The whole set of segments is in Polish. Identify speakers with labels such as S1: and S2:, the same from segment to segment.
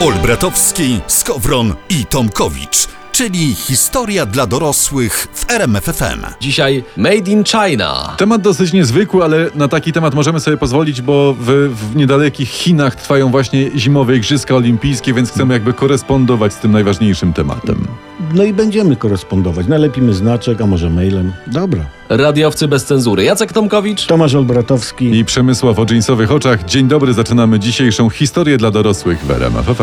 S1: Olbratowski, Skowron i Tomkowicz, czyli historia dla dorosłych w RMFFM.
S2: Dzisiaj Made in China.
S3: Temat dosyć niezwykły, ale na taki temat możemy sobie pozwolić, bo w, w niedalekich Chinach trwają właśnie zimowe Igrzyska Olimpijskie, więc chcemy jakby korespondować z tym najważniejszym tematem.
S4: No i będziemy korespondować. Nalepimy znaczek, a może mailem. Dobra.
S2: Radiowcy bez cenzury. Jacek Tomkowicz.
S4: Tomasz Olbratowski.
S3: I Przemysław o dżinsowych oczach. Dzień dobry, zaczynamy dzisiejszą historię dla dorosłych w RMF FM.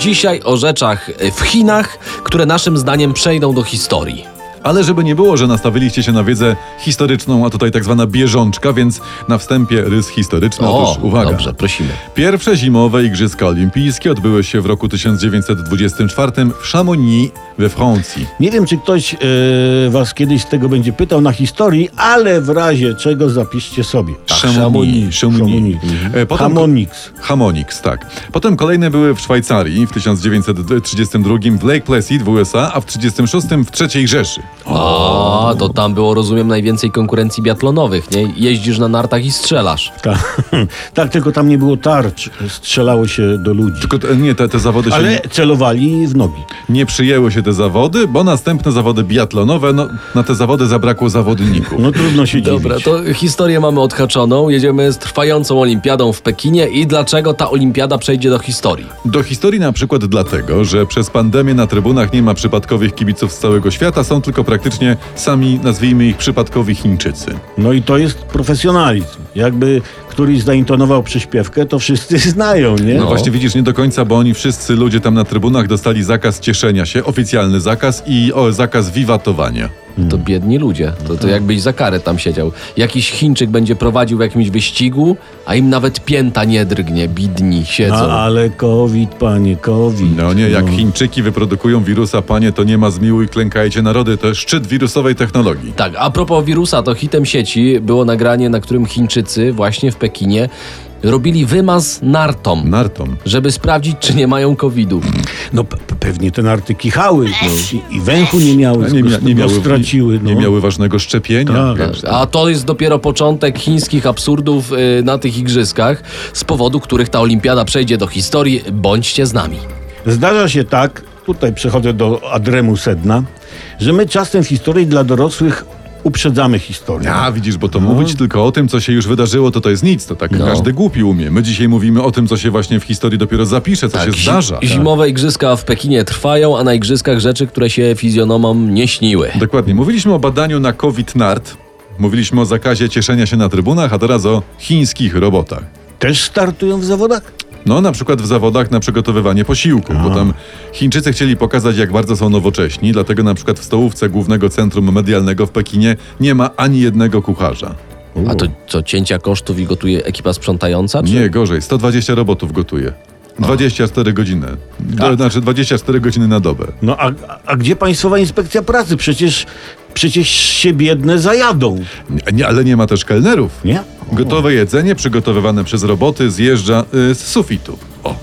S2: Dzisiaj o rzeczach w Chinach, które naszym zdaniem przejdą do historii.
S3: Ale żeby nie było, że nastawiliście się na wiedzę historyczną, a tutaj tak zwana bieżączka, więc na wstępie rys historyczny. Otóż No uwaga.
S2: dobrze, prosimy.
S3: Pierwsze zimowe Igrzyska Olimpijskie odbyły się w roku 1924 w Chamonix we Francji.
S4: Nie wiem, czy ktoś e, was kiedyś z tego będzie pytał na historii, ale w razie czego zapiszcie sobie. Mhm.
S3: Chamonix.
S4: Chamonix.
S3: E, potem-
S4: Chamonix.
S3: Hamonix, tak. Potem kolejne były w Szwajcarii w 1932 w Lake Placid w USA, a w 1936 w III Rzeszy.
S2: O, to tam było, rozumiem, najwięcej konkurencji biatlonowych, nie? Jeździsz na nartach i strzelasz.
S4: Tak, tak, tylko tam nie było tarcz. Strzelało się do ludzi.
S3: Tylko te, nie, te, te zawody się
S4: Ale
S3: nie,
S4: celowali w nogi.
S3: nie przyjęły się te zawody, bo następne zawody biatlonowe, no na te zawody zabrakło zawodników.
S4: No trudno się
S2: Dobra,
S4: dziwić.
S2: to historię mamy odhaczoną. Jedziemy z trwającą olimpiadą w Pekinie i dlaczego ta olimpiada przejdzie do historii.
S3: Do historii na przykład dlatego, że przez pandemię na trybunach nie ma przypadkowych kibiców z całego świata, są tylko praktycznie sami, nazwijmy ich, przypadkowi Chińczycy.
S4: No i to jest profesjonalizm. Jakby któryś zaintonował przyśpiewkę, to wszyscy znają, nie?
S3: No. Właśnie widzisz, nie do końca, bo oni wszyscy ludzie tam na trybunach dostali zakaz cieszenia się, oficjalny zakaz i o, zakaz wiwatowania.
S2: To biedni ludzie. To, to jakbyś za karę tam siedział. Jakiś Chińczyk będzie prowadził w jakimś wyścigu, a im nawet pięta nie drgnie. Bidni siedzą.
S4: No, ale COVID, panie, COVID.
S3: No nie, jak Chińczyki wyprodukują wirusa, panie, to nie ma zmiłuj, klękajcie narody, to jest szczyt wirusowej technologii.
S2: Tak, a propos wirusa, to hitem sieci było nagranie, na którym Chińczycy właśnie w Pekinie robili wymaz nartą,
S3: Nartom.
S2: żeby sprawdzić, czy nie mają COVID-u.
S4: No pe- pewnie te narty kichały no, i, i węchu nie miały,
S3: No Nie, mia- nie,
S4: bo
S3: miały,
S4: straciły. No.
S3: nie miały ważnego szczepienia.
S4: Tak.
S3: wiesz, tak.
S2: A to jest dopiero początek chińskich absurdów y, na tych igrzyskach, z powodu których ta olimpiada przejdzie do historii. Bądźcie z nami.
S4: Zdarza się tak, tutaj przechodzę do adremu sedna, że my czasem w historii dla dorosłych uprzedzamy historię.
S3: A widzisz, bo to
S4: No.
S3: mówić tylko o tym, co się już wydarzyło, to to jest nic. To tak
S2: No.
S3: każdy głupi umie. My dzisiaj mówimy o tym, co się właśnie w historii dopiero zapisze,
S4: Tak.
S3: co się
S2: Tak, zi-
S3: zdarza. Tak.
S2: Zimowe igrzyska w Pekinie trwają, a na igrzyskach rzeczy, które się fizjonomom nie śniły.
S3: Dokładnie. Mówiliśmy o badaniu na COVID-NART. Mówiliśmy o zakazie cieszenia się na trybunach, a teraz o chińskich robotach.
S4: Też startują w zawodach?
S3: No, na przykład w zawodach na przygotowywanie posiłków, bo tam Chińczycy chcieli pokazać, jak bardzo są nowocześni, dlatego na przykład w stołówce Głównego Centrum Medialnego w Pekinie nie ma ani jednego kucharza.
S2: A to co, cięcia kosztów i gotuje ekipa sprzątająca? Czy?
S3: Nie, gorzej, 120 robotów gotuje. 24 godziny. To
S2: Tak.
S3: znaczy 24 godziny na dobę.
S4: No a, a gdzie Państwowa Inspekcja Pracy? Przecież, przecież się biedne zajadą,
S3: Nie, Nie, ale nie ma też kelnerów.
S4: nie?
S3: Gotowe jedzenie przygotowywane przez roboty zjeżdża y, z sufitu. O,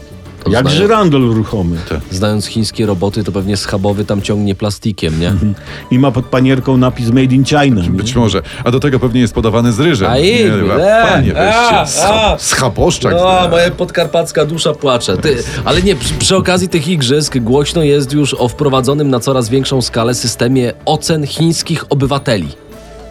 S2: To
S4: Jak
S2: znają-
S4: żyrandol ruchomy.
S3: Tak.
S2: Znając chińskie roboty, to pewnie schabowy tam ciągnie plastikiem, nie?
S3: Mhm.
S4: I ma pod panierką napis Made in China. nie?
S3: być może. A do tego pewnie jest podawany z ryżem.
S2: Mm. A
S3: Nie,
S2: i-
S3: chyba.
S2: e, a,
S3: Panie, weźcie. scha-
S2: a.
S3: Schaboszczak.
S2: O, moja podkarpacka dusza płacze. Ty, ale nie, przy, przy okazji tych igrzysk głośno jest już o wprowadzonym na coraz większą skalę systemie ocen chińskich obywateli.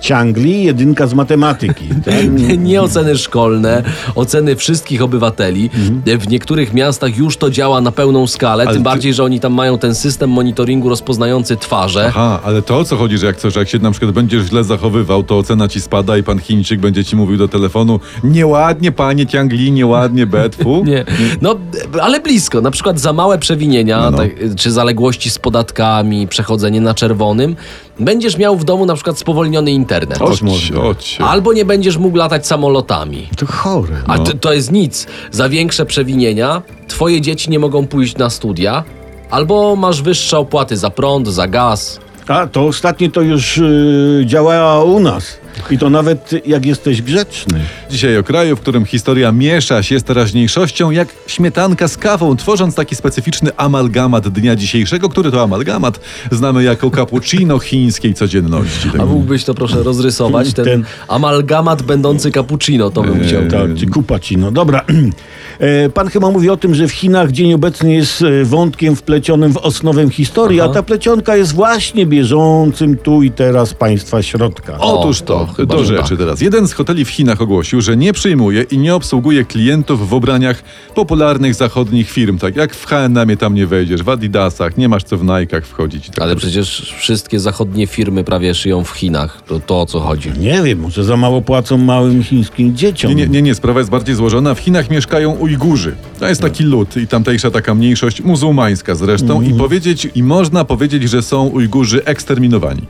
S4: Ciangli, jedynka z matematyki. tak?
S2: Nie, nie oceny szkolne, oceny wszystkich obywateli. W niektórych miastach już to działa na pełną skalę, tym
S3: ty-
S2: bardziej, że oni tam mają ten system monitoringu rozpoznający twarze.
S3: Aha, ale to o co chodzi, że jak coś, jak się na przykład będziesz źle zachowywał, to ocena ci spada i pan Chińczyk będzie ci mówił do telefonu nieładnie, panie Ciangli, nieładnie, Betfu.
S2: Nie. No, ale blisko. Na przykład za małe przewinienia, Tak, czy zaległości z podatkami, przechodzenie na czerwonym, będziesz miał w domu na przykład spowolniony internet.
S3: Chodź, chodź.
S2: Albo nie będziesz mógł latać samolotami.
S4: To chore.
S3: no.
S2: A to, to jest nic. Za większe przewinienia twoje dzieci nie mogą pójść na studia, albo masz wyższe opłaty za prąd, za gaz.
S4: A to ostatnie to już yy, y, działała u nas. I to nawet jak jesteś grzeczny.
S3: Dzisiaj o kraju, w którym historia miesza się z teraźniejszością jak śmietanka z kawą, tworząc taki specyficzny amalgamat dnia dzisiejszego, który to amalgamat znamy jako cappuccino chińskiej codzienności. Tak.
S2: A mógłbyś to proszę rozrysować, ten,
S4: Ten-
S2: amalgamat będący cappuccino, to bym
S3: E,
S2: chciał.
S4: Tak, czy kupacino. Dobra. E, Pan chyba mówi o tym, że w Chinach dzień obecny jest e, wątkiem wplecionym w osnowę historii,
S2: Aha.
S4: a ta plecionka jest właśnie bieżącym tu i teraz państwa środka.
S3: Otóż
S2: O,
S3: to,
S2: to chyba,
S3: do
S2: że tak.
S3: rzeczy teraz. Jeden z hoteli w Chinach ogłosił, że nie przyjmuje i nie obsługuje klientów w ubraniach popularnych zachodnich firm, tak jak w H&M tam nie wejdziesz, w Adidasach, nie masz co w Nike'ach wchodzić. i Tak.
S2: Ale przecież wszystkie zachodnie firmy prawie szyją w Chinach. To, to o co chodzi.
S4: Nie wiem, może za mało płacą małym chińskim dzieciom.
S3: Nie, nie, nie, nie, sprawa jest bardziej złożona. W Chinach mieszkają Ujgurzy. To jest taki lud i tamtejsza taka mniejszość muzułmańska zresztą
S2: Mhm.
S3: i powiedzieć, i można powiedzieć, że są Ujgurzy eksterminowani.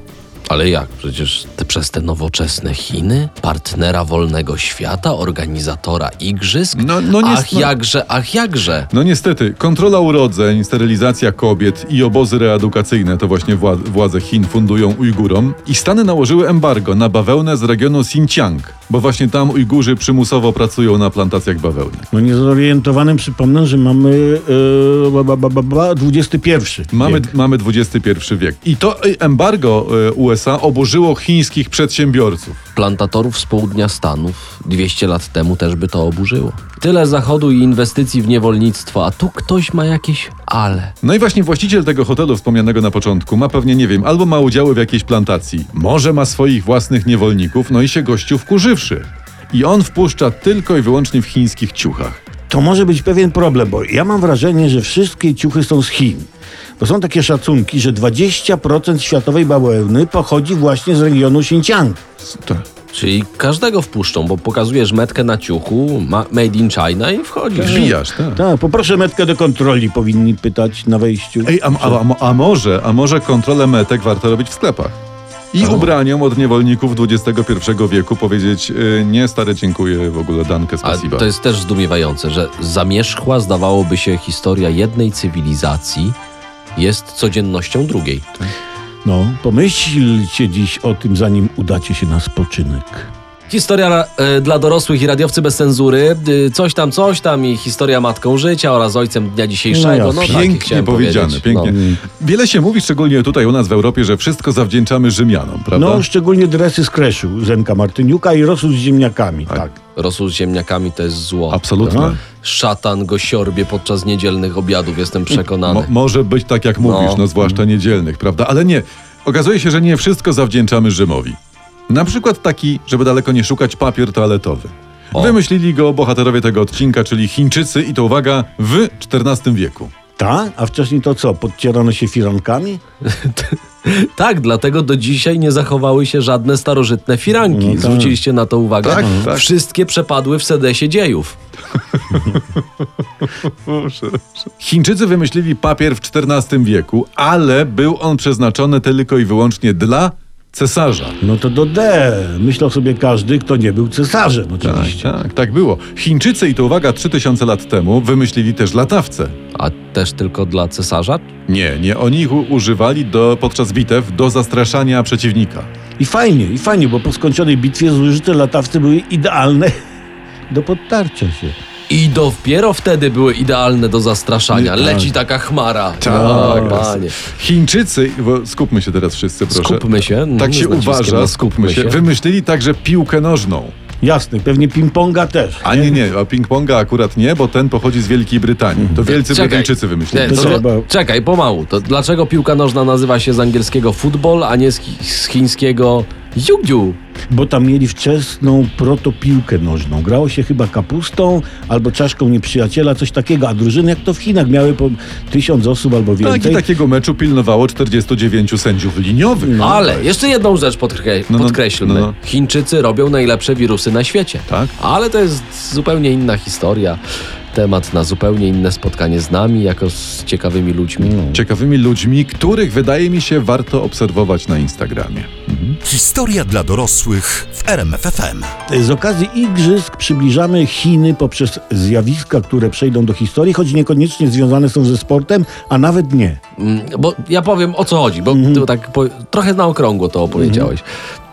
S2: Ale jak? Przecież te, przez te nowoczesne Chiny, partnera wolnego świata, organizatora igrzysk?
S3: No- no nie-
S2: ach
S3: no-
S2: jakże, ach jakże.
S3: No niestety, kontrola urodzeń, sterylizacja kobiet i obozy reedukacyjne to właśnie wła- władze Chin fundują Ujgurom i Stany nałożyły embargo na bawełnę z regionu Xinjiang, bo właśnie tam Ujgurzy przymusowo pracują na plantacjach bawełny.
S4: No niezorientowanym przypomnę, że mamy e, ba, ba, ba, ba, ba, 21.
S3: Mamy,
S4: wiek.
S3: mamy XXI wiek. I to y, embargo y, USA oburzyło chińskich przedsiębiorców.
S2: Plantatorów z południa Stanów 200 lat temu też by to oburzyło. Tyle zachodu i inwestycji w niewolnictwo, a tu ktoś ma jakieś ale.
S3: No i właśnie właściciel tego hotelu wspomnianego na początku ma pewnie, nie wiem, albo ma udziały w jakiejś plantacji, może ma swoich własnych niewolników, no i się gościu wkurzywszy. I on wpuszcza tylko i wyłącznie w chińskich ciuchach.
S4: To może być pewien problem, bo ja mam wrażenie, że wszystkie ciuchy są z Chin. Bo są takie szacunki, że 20% światowej bawełny pochodzi właśnie z regionu Xinjiang.
S3: Tak.
S2: Czyli każdego wpuszczą, bo pokazujesz metkę na ciuchu, ma made in China i wchodzisz.
S3: Wbijasz, tak.
S4: Tak, poproszę metkę do kontroli, powinni pytać na wejściu.
S3: Ej, a, a, a, a może, a może kontrolę metek warto robić w sklepach? I ubraniom od niewolników XXI wieku powiedzieć y, nie, stary, dziękuję, w ogóle dankę,
S2: A
S3: spasiba.
S2: to jest też zdumiewające, że zamierzchła zdawałoby się historia jednej cywilizacji jest codziennością drugiej.
S4: No, pomyślcie dziś o tym, zanim udacie się na spoczynek.
S2: Historia e, dla dorosłych i radiowcy bez cenzury. Y, coś tam, coś tam i historia matką życia oraz ojcem dnia dzisiejszego.
S4: No
S2: No,
S4: jasne.
S2: takie
S3: Pięknie
S2: chciałem
S3: powiedziane,
S2: powiedzieć.
S3: pięknie.
S2: No.
S3: Wiele się mówi, szczególnie tutaj u nas w Europie, że wszystko zawdzięczamy Rzymianom, prawda?
S4: No, szczególnie dresy z kreszu Zenka Martyniuka i rosół z ziemniakami. Tak.
S2: Rosół z ziemniakami to jest zło.
S3: Absolutnie.
S2: No. Szatan go siorbie podczas niedzielnych obiadów, jestem przekonany.
S3: Mo- może być tak, jak mówisz, no. zwłaszcza niedzielnych, prawda? Ale nie, okazuje się, że nie wszystko zawdzięczamy Rzymowi. Na przykład taki, żeby daleko nie szukać, papier toaletowy.
S2: O.
S3: Wymyślili go bohaterowie tego odcinka, czyli Chińczycy i to uwaga, w XIV wieku.
S4: Tak? A wcześniej to co? Podcierano się firankami?
S2: Tak, dlatego do dzisiaj nie zachowały się żadne starożytne firanki. Zwróciliście na to uwagę?
S3: No
S2: Mhm.
S3: Tak, tak.
S2: Wszystkie przepadły w sedesie dziejów.
S3: Chińczycy wymyślili papier w XIV wieku, ale był on przeznaczony tylko i wyłącznie dla cesarza. Tak,
S4: No to do D. Myślał sobie każdy, kto nie był cesarzem
S3: Tak,
S4: oczywiście.
S3: tak, tak było. Chińczycy i to uwaga, 3000 lat temu wymyślili też latawce.
S2: A też tylko dla cesarza?
S3: Nie, nie, oni ich u- używali do, podczas bitew do zastraszania przeciwnika.
S4: I fajnie, i fajnie, bo po skończonej bitwie zużyte latawce były idealne do podtarcia się.
S2: I dopiero wtedy były idealne do zastraszania. Leci taka chmara.
S3: Tak.
S2: O, panie.
S3: Chińczycy, bo skupmy się teraz wszyscy, proszę.
S2: Skupmy się. Mm,
S3: Tak
S2: z
S3: się
S2: naciskiem
S3: uważa,
S2: na
S3: skupmy się. Wymyślili także piłkę nożną.
S4: Jasne, pewnie ping-ponga też.
S3: A nie, nie, a ping-ponga akurat nie, bo ten pochodzi z Wielkiej Brytanii. To wielcy
S2: Czekaj.
S3: Brytyjczycy
S2: Nie,
S3: wymyślili.
S2: to,
S4: Trzeba.
S2: to, czekaj, pomału. To dlaczego piłka nożna nazywa się z angielskiego football, a nie z, chi- z chińskiego jugiu?
S4: Bo tam mieli wczesną protopiłkę nożną. Grało się chyba kapustą albo czaszką nieprzyjaciela, coś takiego. A drużyny jak to w Chinach miały po tysiąc osób albo
S3: Tak i
S4: więcej.
S3: takiego meczu pilnowało 49 sędziów liniowych.
S2: No. Ale jeszcze jedną rzecz podkre-
S3: No, no,
S2: podkreślmy.
S3: no, no.
S2: Chińczycy robią najlepsze wirusy na świecie.
S3: Tak?
S2: Ale to jest zupełnie inna historia. Temat na zupełnie inne spotkanie z nami, jako z ciekawymi ludźmi.
S3: No. Ciekawymi ludźmi, których wydaje mi się warto obserwować na Instagramie.
S1: Historia dla dorosłych w RMFFM.
S4: Z okazji igrzysk przybliżamy Chiny poprzez zjawiska, które przejdą do historii, choć niekoniecznie związane są ze sportem, a nawet nie.
S3: Mhm.
S2: Mm, Bo ja powiem o co chodzi, bo ty tak po, trochę na okrągło to opowiedziałeś.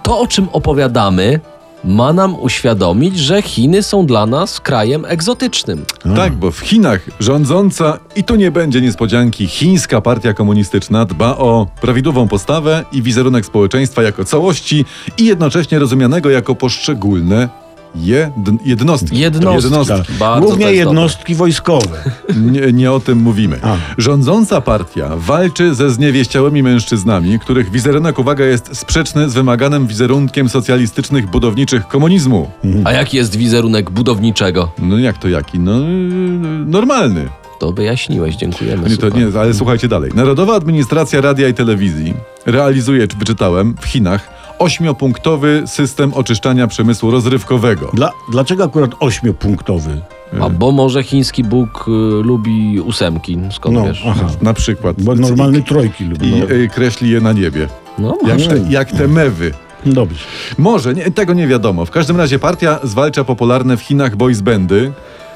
S2: to, o czym opowiadamy, ma nam uświadomić, że Chiny są dla nas krajem egzotycznym.
S3: Tak, bo w Chinach rządząca, i tu nie będzie niespodzianki, chińska partia komunistyczna dba o prawidłową postawę i wizerunek społeczeństwa jako całości i jednocześnie rozumianego jako poszczególne jed, jednostki.
S2: Jednostki.
S4: Tak.
S2: Bardzo to
S4: Głównie
S2: jest dobre.
S4: jednostki wojskowe.
S3: Nie, nie o tym mówimy.
S4: A.
S3: Rządząca partia walczy ze zniewieściałymi mężczyznami, których wizerunek, uwaga, jest sprzeczny z wymaganym wizerunkiem socjalistycznych budowniczych komunizmu.
S2: A jaki jest wizerunek budowniczego?
S3: No jak to jaki? No yy, normalny.
S2: To wyjaśniłeś, dziękujemy.
S3: Nie, to
S2: super.
S3: nie, ale słuchajcie dalej. Narodowa Administracja Radia i Telewizji realizuje, czy wyczytałem, w Chinach ośmiopunktowy system oczyszczania przemysłu rozrywkowego.
S4: Dla, dlaczego akurat ośmiopunktowy?
S2: A bo może chiński Bóg y, lubi ósemki, skąd
S4: No,
S2: wiesz?
S4: aha.
S3: Na przykład.
S4: Bo normalny trojki lubię. No,
S3: I, i y, kreśli je na niebie.
S2: No,
S3: Jak, te, jak te mewy.
S4: No, dobrze.
S3: Może, nie, tego nie wiadomo. W każdym razie partia zwalcza popularne w Chinach boys bandy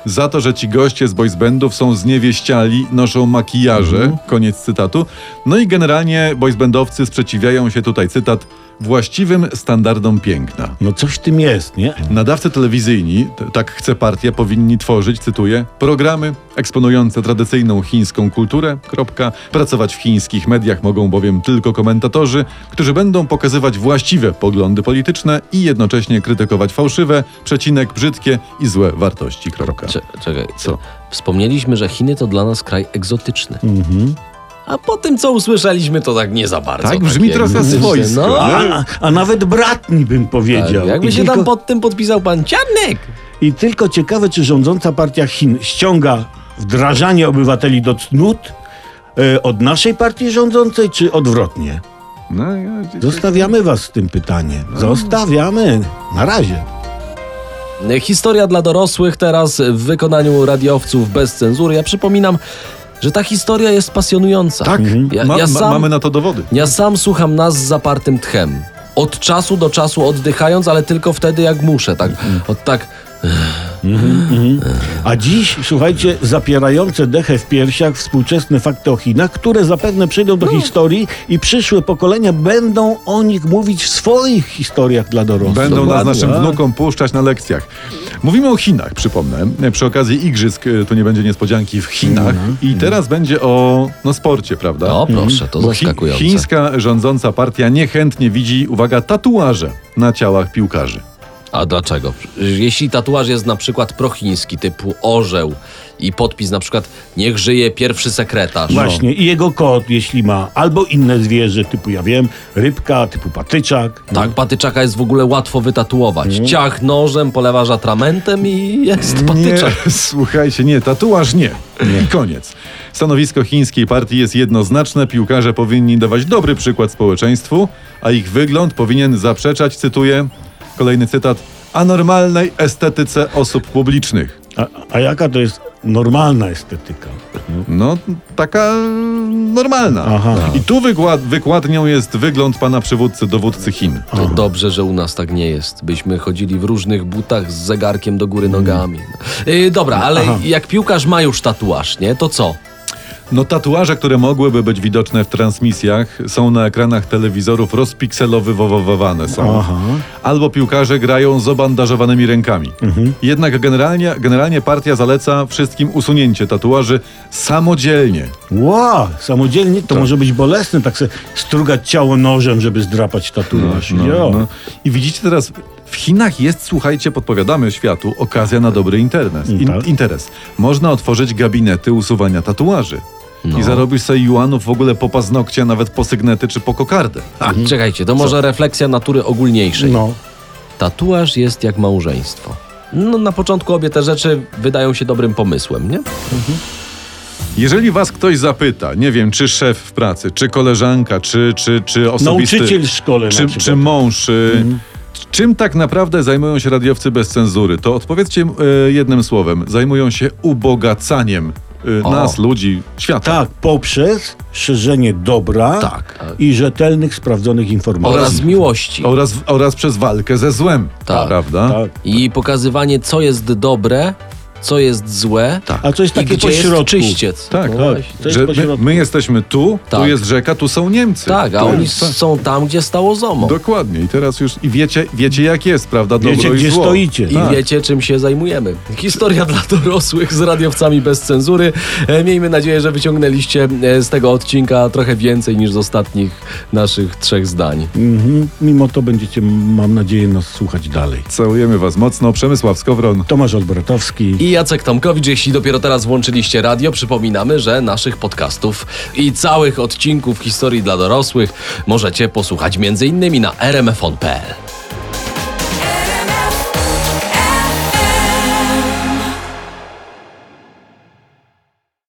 S3: za to, że ci goście z boys bandów są zniewieściali, noszą makijaże,
S4: Mhm.
S3: koniec cytatu. No i generalnie boys bandowcy sprzeciwiają się tutaj, cytat, właściwym standardom piękna.
S4: No coś w tym jest, nie?
S3: Nadawcy telewizyjni, t- tak chce partia, powinni tworzyć, cytuję, programy eksponujące tradycyjną chińską kulturę, kropka. Pracować w chińskich mediach mogą bowiem tylko komentatorzy, którzy będą pokazywać właściwe poglądy polityczne i jednocześnie krytykować fałszywe, przecinek, brzydkie i złe wartości, kropka.
S2: Cze- czekaj,
S3: Co?
S2: Wspomnieliśmy, że Chiny to dla nas kraj egzotyczny. A po tym, co usłyszeliśmy, to tak nie za bardzo.
S3: Mhm. Tak, brzmi
S2: takie
S3: trochę
S2: egzotyczne.
S3: swojsko,
S2: No,
S3: nie?
S2: a-
S4: A, a nawet bratni bym powiedział.
S2: Tak, jakby
S4: I
S2: się
S4: tylko,
S2: tam pod tym podpisał pan Cianek.
S4: I tylko ciekawe, czy rządząca partia Chin ściąga wdrażanie obywateli do cnót e, od naszej partii rządzącej, czy odwrotnie?
S3: No, ja,
S4: Zostawiamy was z tym pytaniem. Zostawiamy. Na razie.
S2: Historia dla dorosłych teraz w wykonaniu radiowców bez cenzury. Ja przypominam, że ta historia jest pasjonująca.
S3: tak,
S2: Ja,
S3: ma,
S2: ja
S3: ma,
S2: sam,
S3: mamy na to dowody.
S2: ja sam słucham nas z zapartym tchem. Od czasu do czasu oddychając, ale tylko wtedy, jak muszę. Tak,
S3: Mhm.
S2: od tak
S4: A dziś, słuchajcie, zapierające dechę w piersiach współczesne fakty o Chinach, które zapewne przyjdą do historii i przyszłe pokolenia będą o nich mówić w swoich historiach dla dorosłych.
S3: Będą nas
S2: Dokładnie.
S3: naszym wnukom puszczać na lekcjach. Mówimy o Chinach, przypomnę. Przy okazji igrzysk e, to nie będzie niespodzianki w Chinach. I teraz będzie o no, sporcie, prawda?
S2: Mhm, No proszę, to
S3: Mhm. Bo chi-
S2: zaskakujące.
S3: Chińska rządząca partia niechętnie widzi, uwaga, tatuaże na ciałach piłkarzy.
S2: A dlaczego? Jeśli tatuaż jest na przykład prochiński, typu orzeł i podpis na przykład niech żyje pierwszy sekretarz.
S4: No.
S3: No.
S4: Właśnie, i jego kot, jeśli ma, albo inne zwierzę, typu, ja wiem, rybka, typu patyczak.
S2: Tak, patyczaka jest w ogóle łatwo wytatuować. Ciach nożem, polewasz atramentem i jest patyczak.
S3: Mhm. Nie, słuchajcie, nie, tatuaż nie. I koniec. Stanowisko chińskiej partii jest jednoznaczne. Piłkarze powinni dawać dobry przykład społeczeństwu, a ich wygląd powinien zaprzeczać, cytuję, kolejny cytat, anormalnej estetyce osób publicznych.
S4: A, a jaka to jest normalna estetyka?
S3: No, taka normalna.
S4: Aha.
S3: I tu wykład, wykładnią jest wygląd pana przywódcy, dowódcy Chin.
S2: To No dobrze, że u nas tak nie jest. Byśmy chodzili w różnych butach z zegarkiem do góry nogami. Yy, dobra, ale jak piłkarz ma już tatuaż, nie? To co?
S3: No tatuaże, które mogłyby być widoczne w transmisjach, są na ekranach telewizorów rozpikselowywowowane są. Albo piłkarze grają z obandażowanymi rękami.
S4: Mhm.
S3: Jednak generalnie, generalnie partia zaleca wszystkim usunięcie tatuaży samodzielnie.
S4: Wow, samodzielnie to może być bolesne, tak se strugać ciało nożem, żeby zdrapać tatuaż. Jo.
S3: No. I widzicie teraz, w Chinach jest, słuchajcie, podpowiadamy światu, okazja na dobry internet. In,
S4: Tak.
S3: interes. Można otworzyć gabinety usuwania tatuaży. I zarobisz sobie juanów w ogóle po paznokcie, nawet po sygnety czy po kokardę.
S2: A, czekajcie, to może refleksja natury ogólniejszej.
S4: no.
S2: Tatuaż jest jak małżeństwo. No, na początku obie te rzeczy wydają się dobrym pomysłem, nie?
S3: Jeżeli was ktoś zapyta, nie wiem, czy szef w pracy, czy koleżanka, czy, czy, czy osobisty...
S4: Nauczyciel w szkole na
S3: Czy,
S4: przykład. Mhm.
S3: czy mąż... y, Czym tak naprawdę zajmują się radiowcy bez cenzury? To odpowiedzcie y, jednym słowem. Zajmują się ubogacaniem y,
S2: O.
S3: nas, ludzi, świata.
S4: Tak, poprzez szerzenie dobra
S2: Tak.
S4: i rzetelnych, sprawdzonych
S3: No.
S4: informacji.
S2: Oraz miłości.
S3: Oraz, oraz przez walkę ze złem,
S2: Tak,
S3: prawda?
S4: Tak. tak.
S2: I pokazywanie, co jest dobre co jest złe
S5: Tak.
S4: A coś
S2: i
S4: takie
S2: gdzie
S4: pośrodku.
S2: jest czyściec.
S3: Tak,
S2: No
S3: tak.
S2: właśnie.
S4: To jest
S3: Że
S4: po
S3: my,
S4: środku.
S3: my jesteśmy tu, tu
S2: Tak.
S3: jest rzeka, tu są Niemcy.
S2: Tak, a
S3: Tu
S2: oni
S3: jest- tak.
S2: są tam, gdzie stało ZOMO.
S3: Dokładnie. I teraz już i wiecie, wiecie jak jest, prawda? Dobro
S4: Wiecie,
S3: i
S4: gdzie
S3: zło.
S4: stoicie.
S2: I wiecie, czym się zajmujemy. Historia dla dorosłych z radiowcami bez cenzury. E, Miejmy nadzieję, że wyciągnęliście e, z tego odcinka trochę więcej niż z ostatnich naszych trzech zdań.
S4: Mhm. Mimo to będziecie, mam nadzieję, nas słuchać dalej.
S3: Całujemy was mocno. Przemysław Skowron.
S4: Tomasz Olbratowski.
S2: I Jacek Tomkowicz, jeśli dopiero teraz włączyliście radio, przypominamy, że naszych podcastów i całych odcinków historii dla dorosłych możecie posłuchać m.in. na rmfon.pl.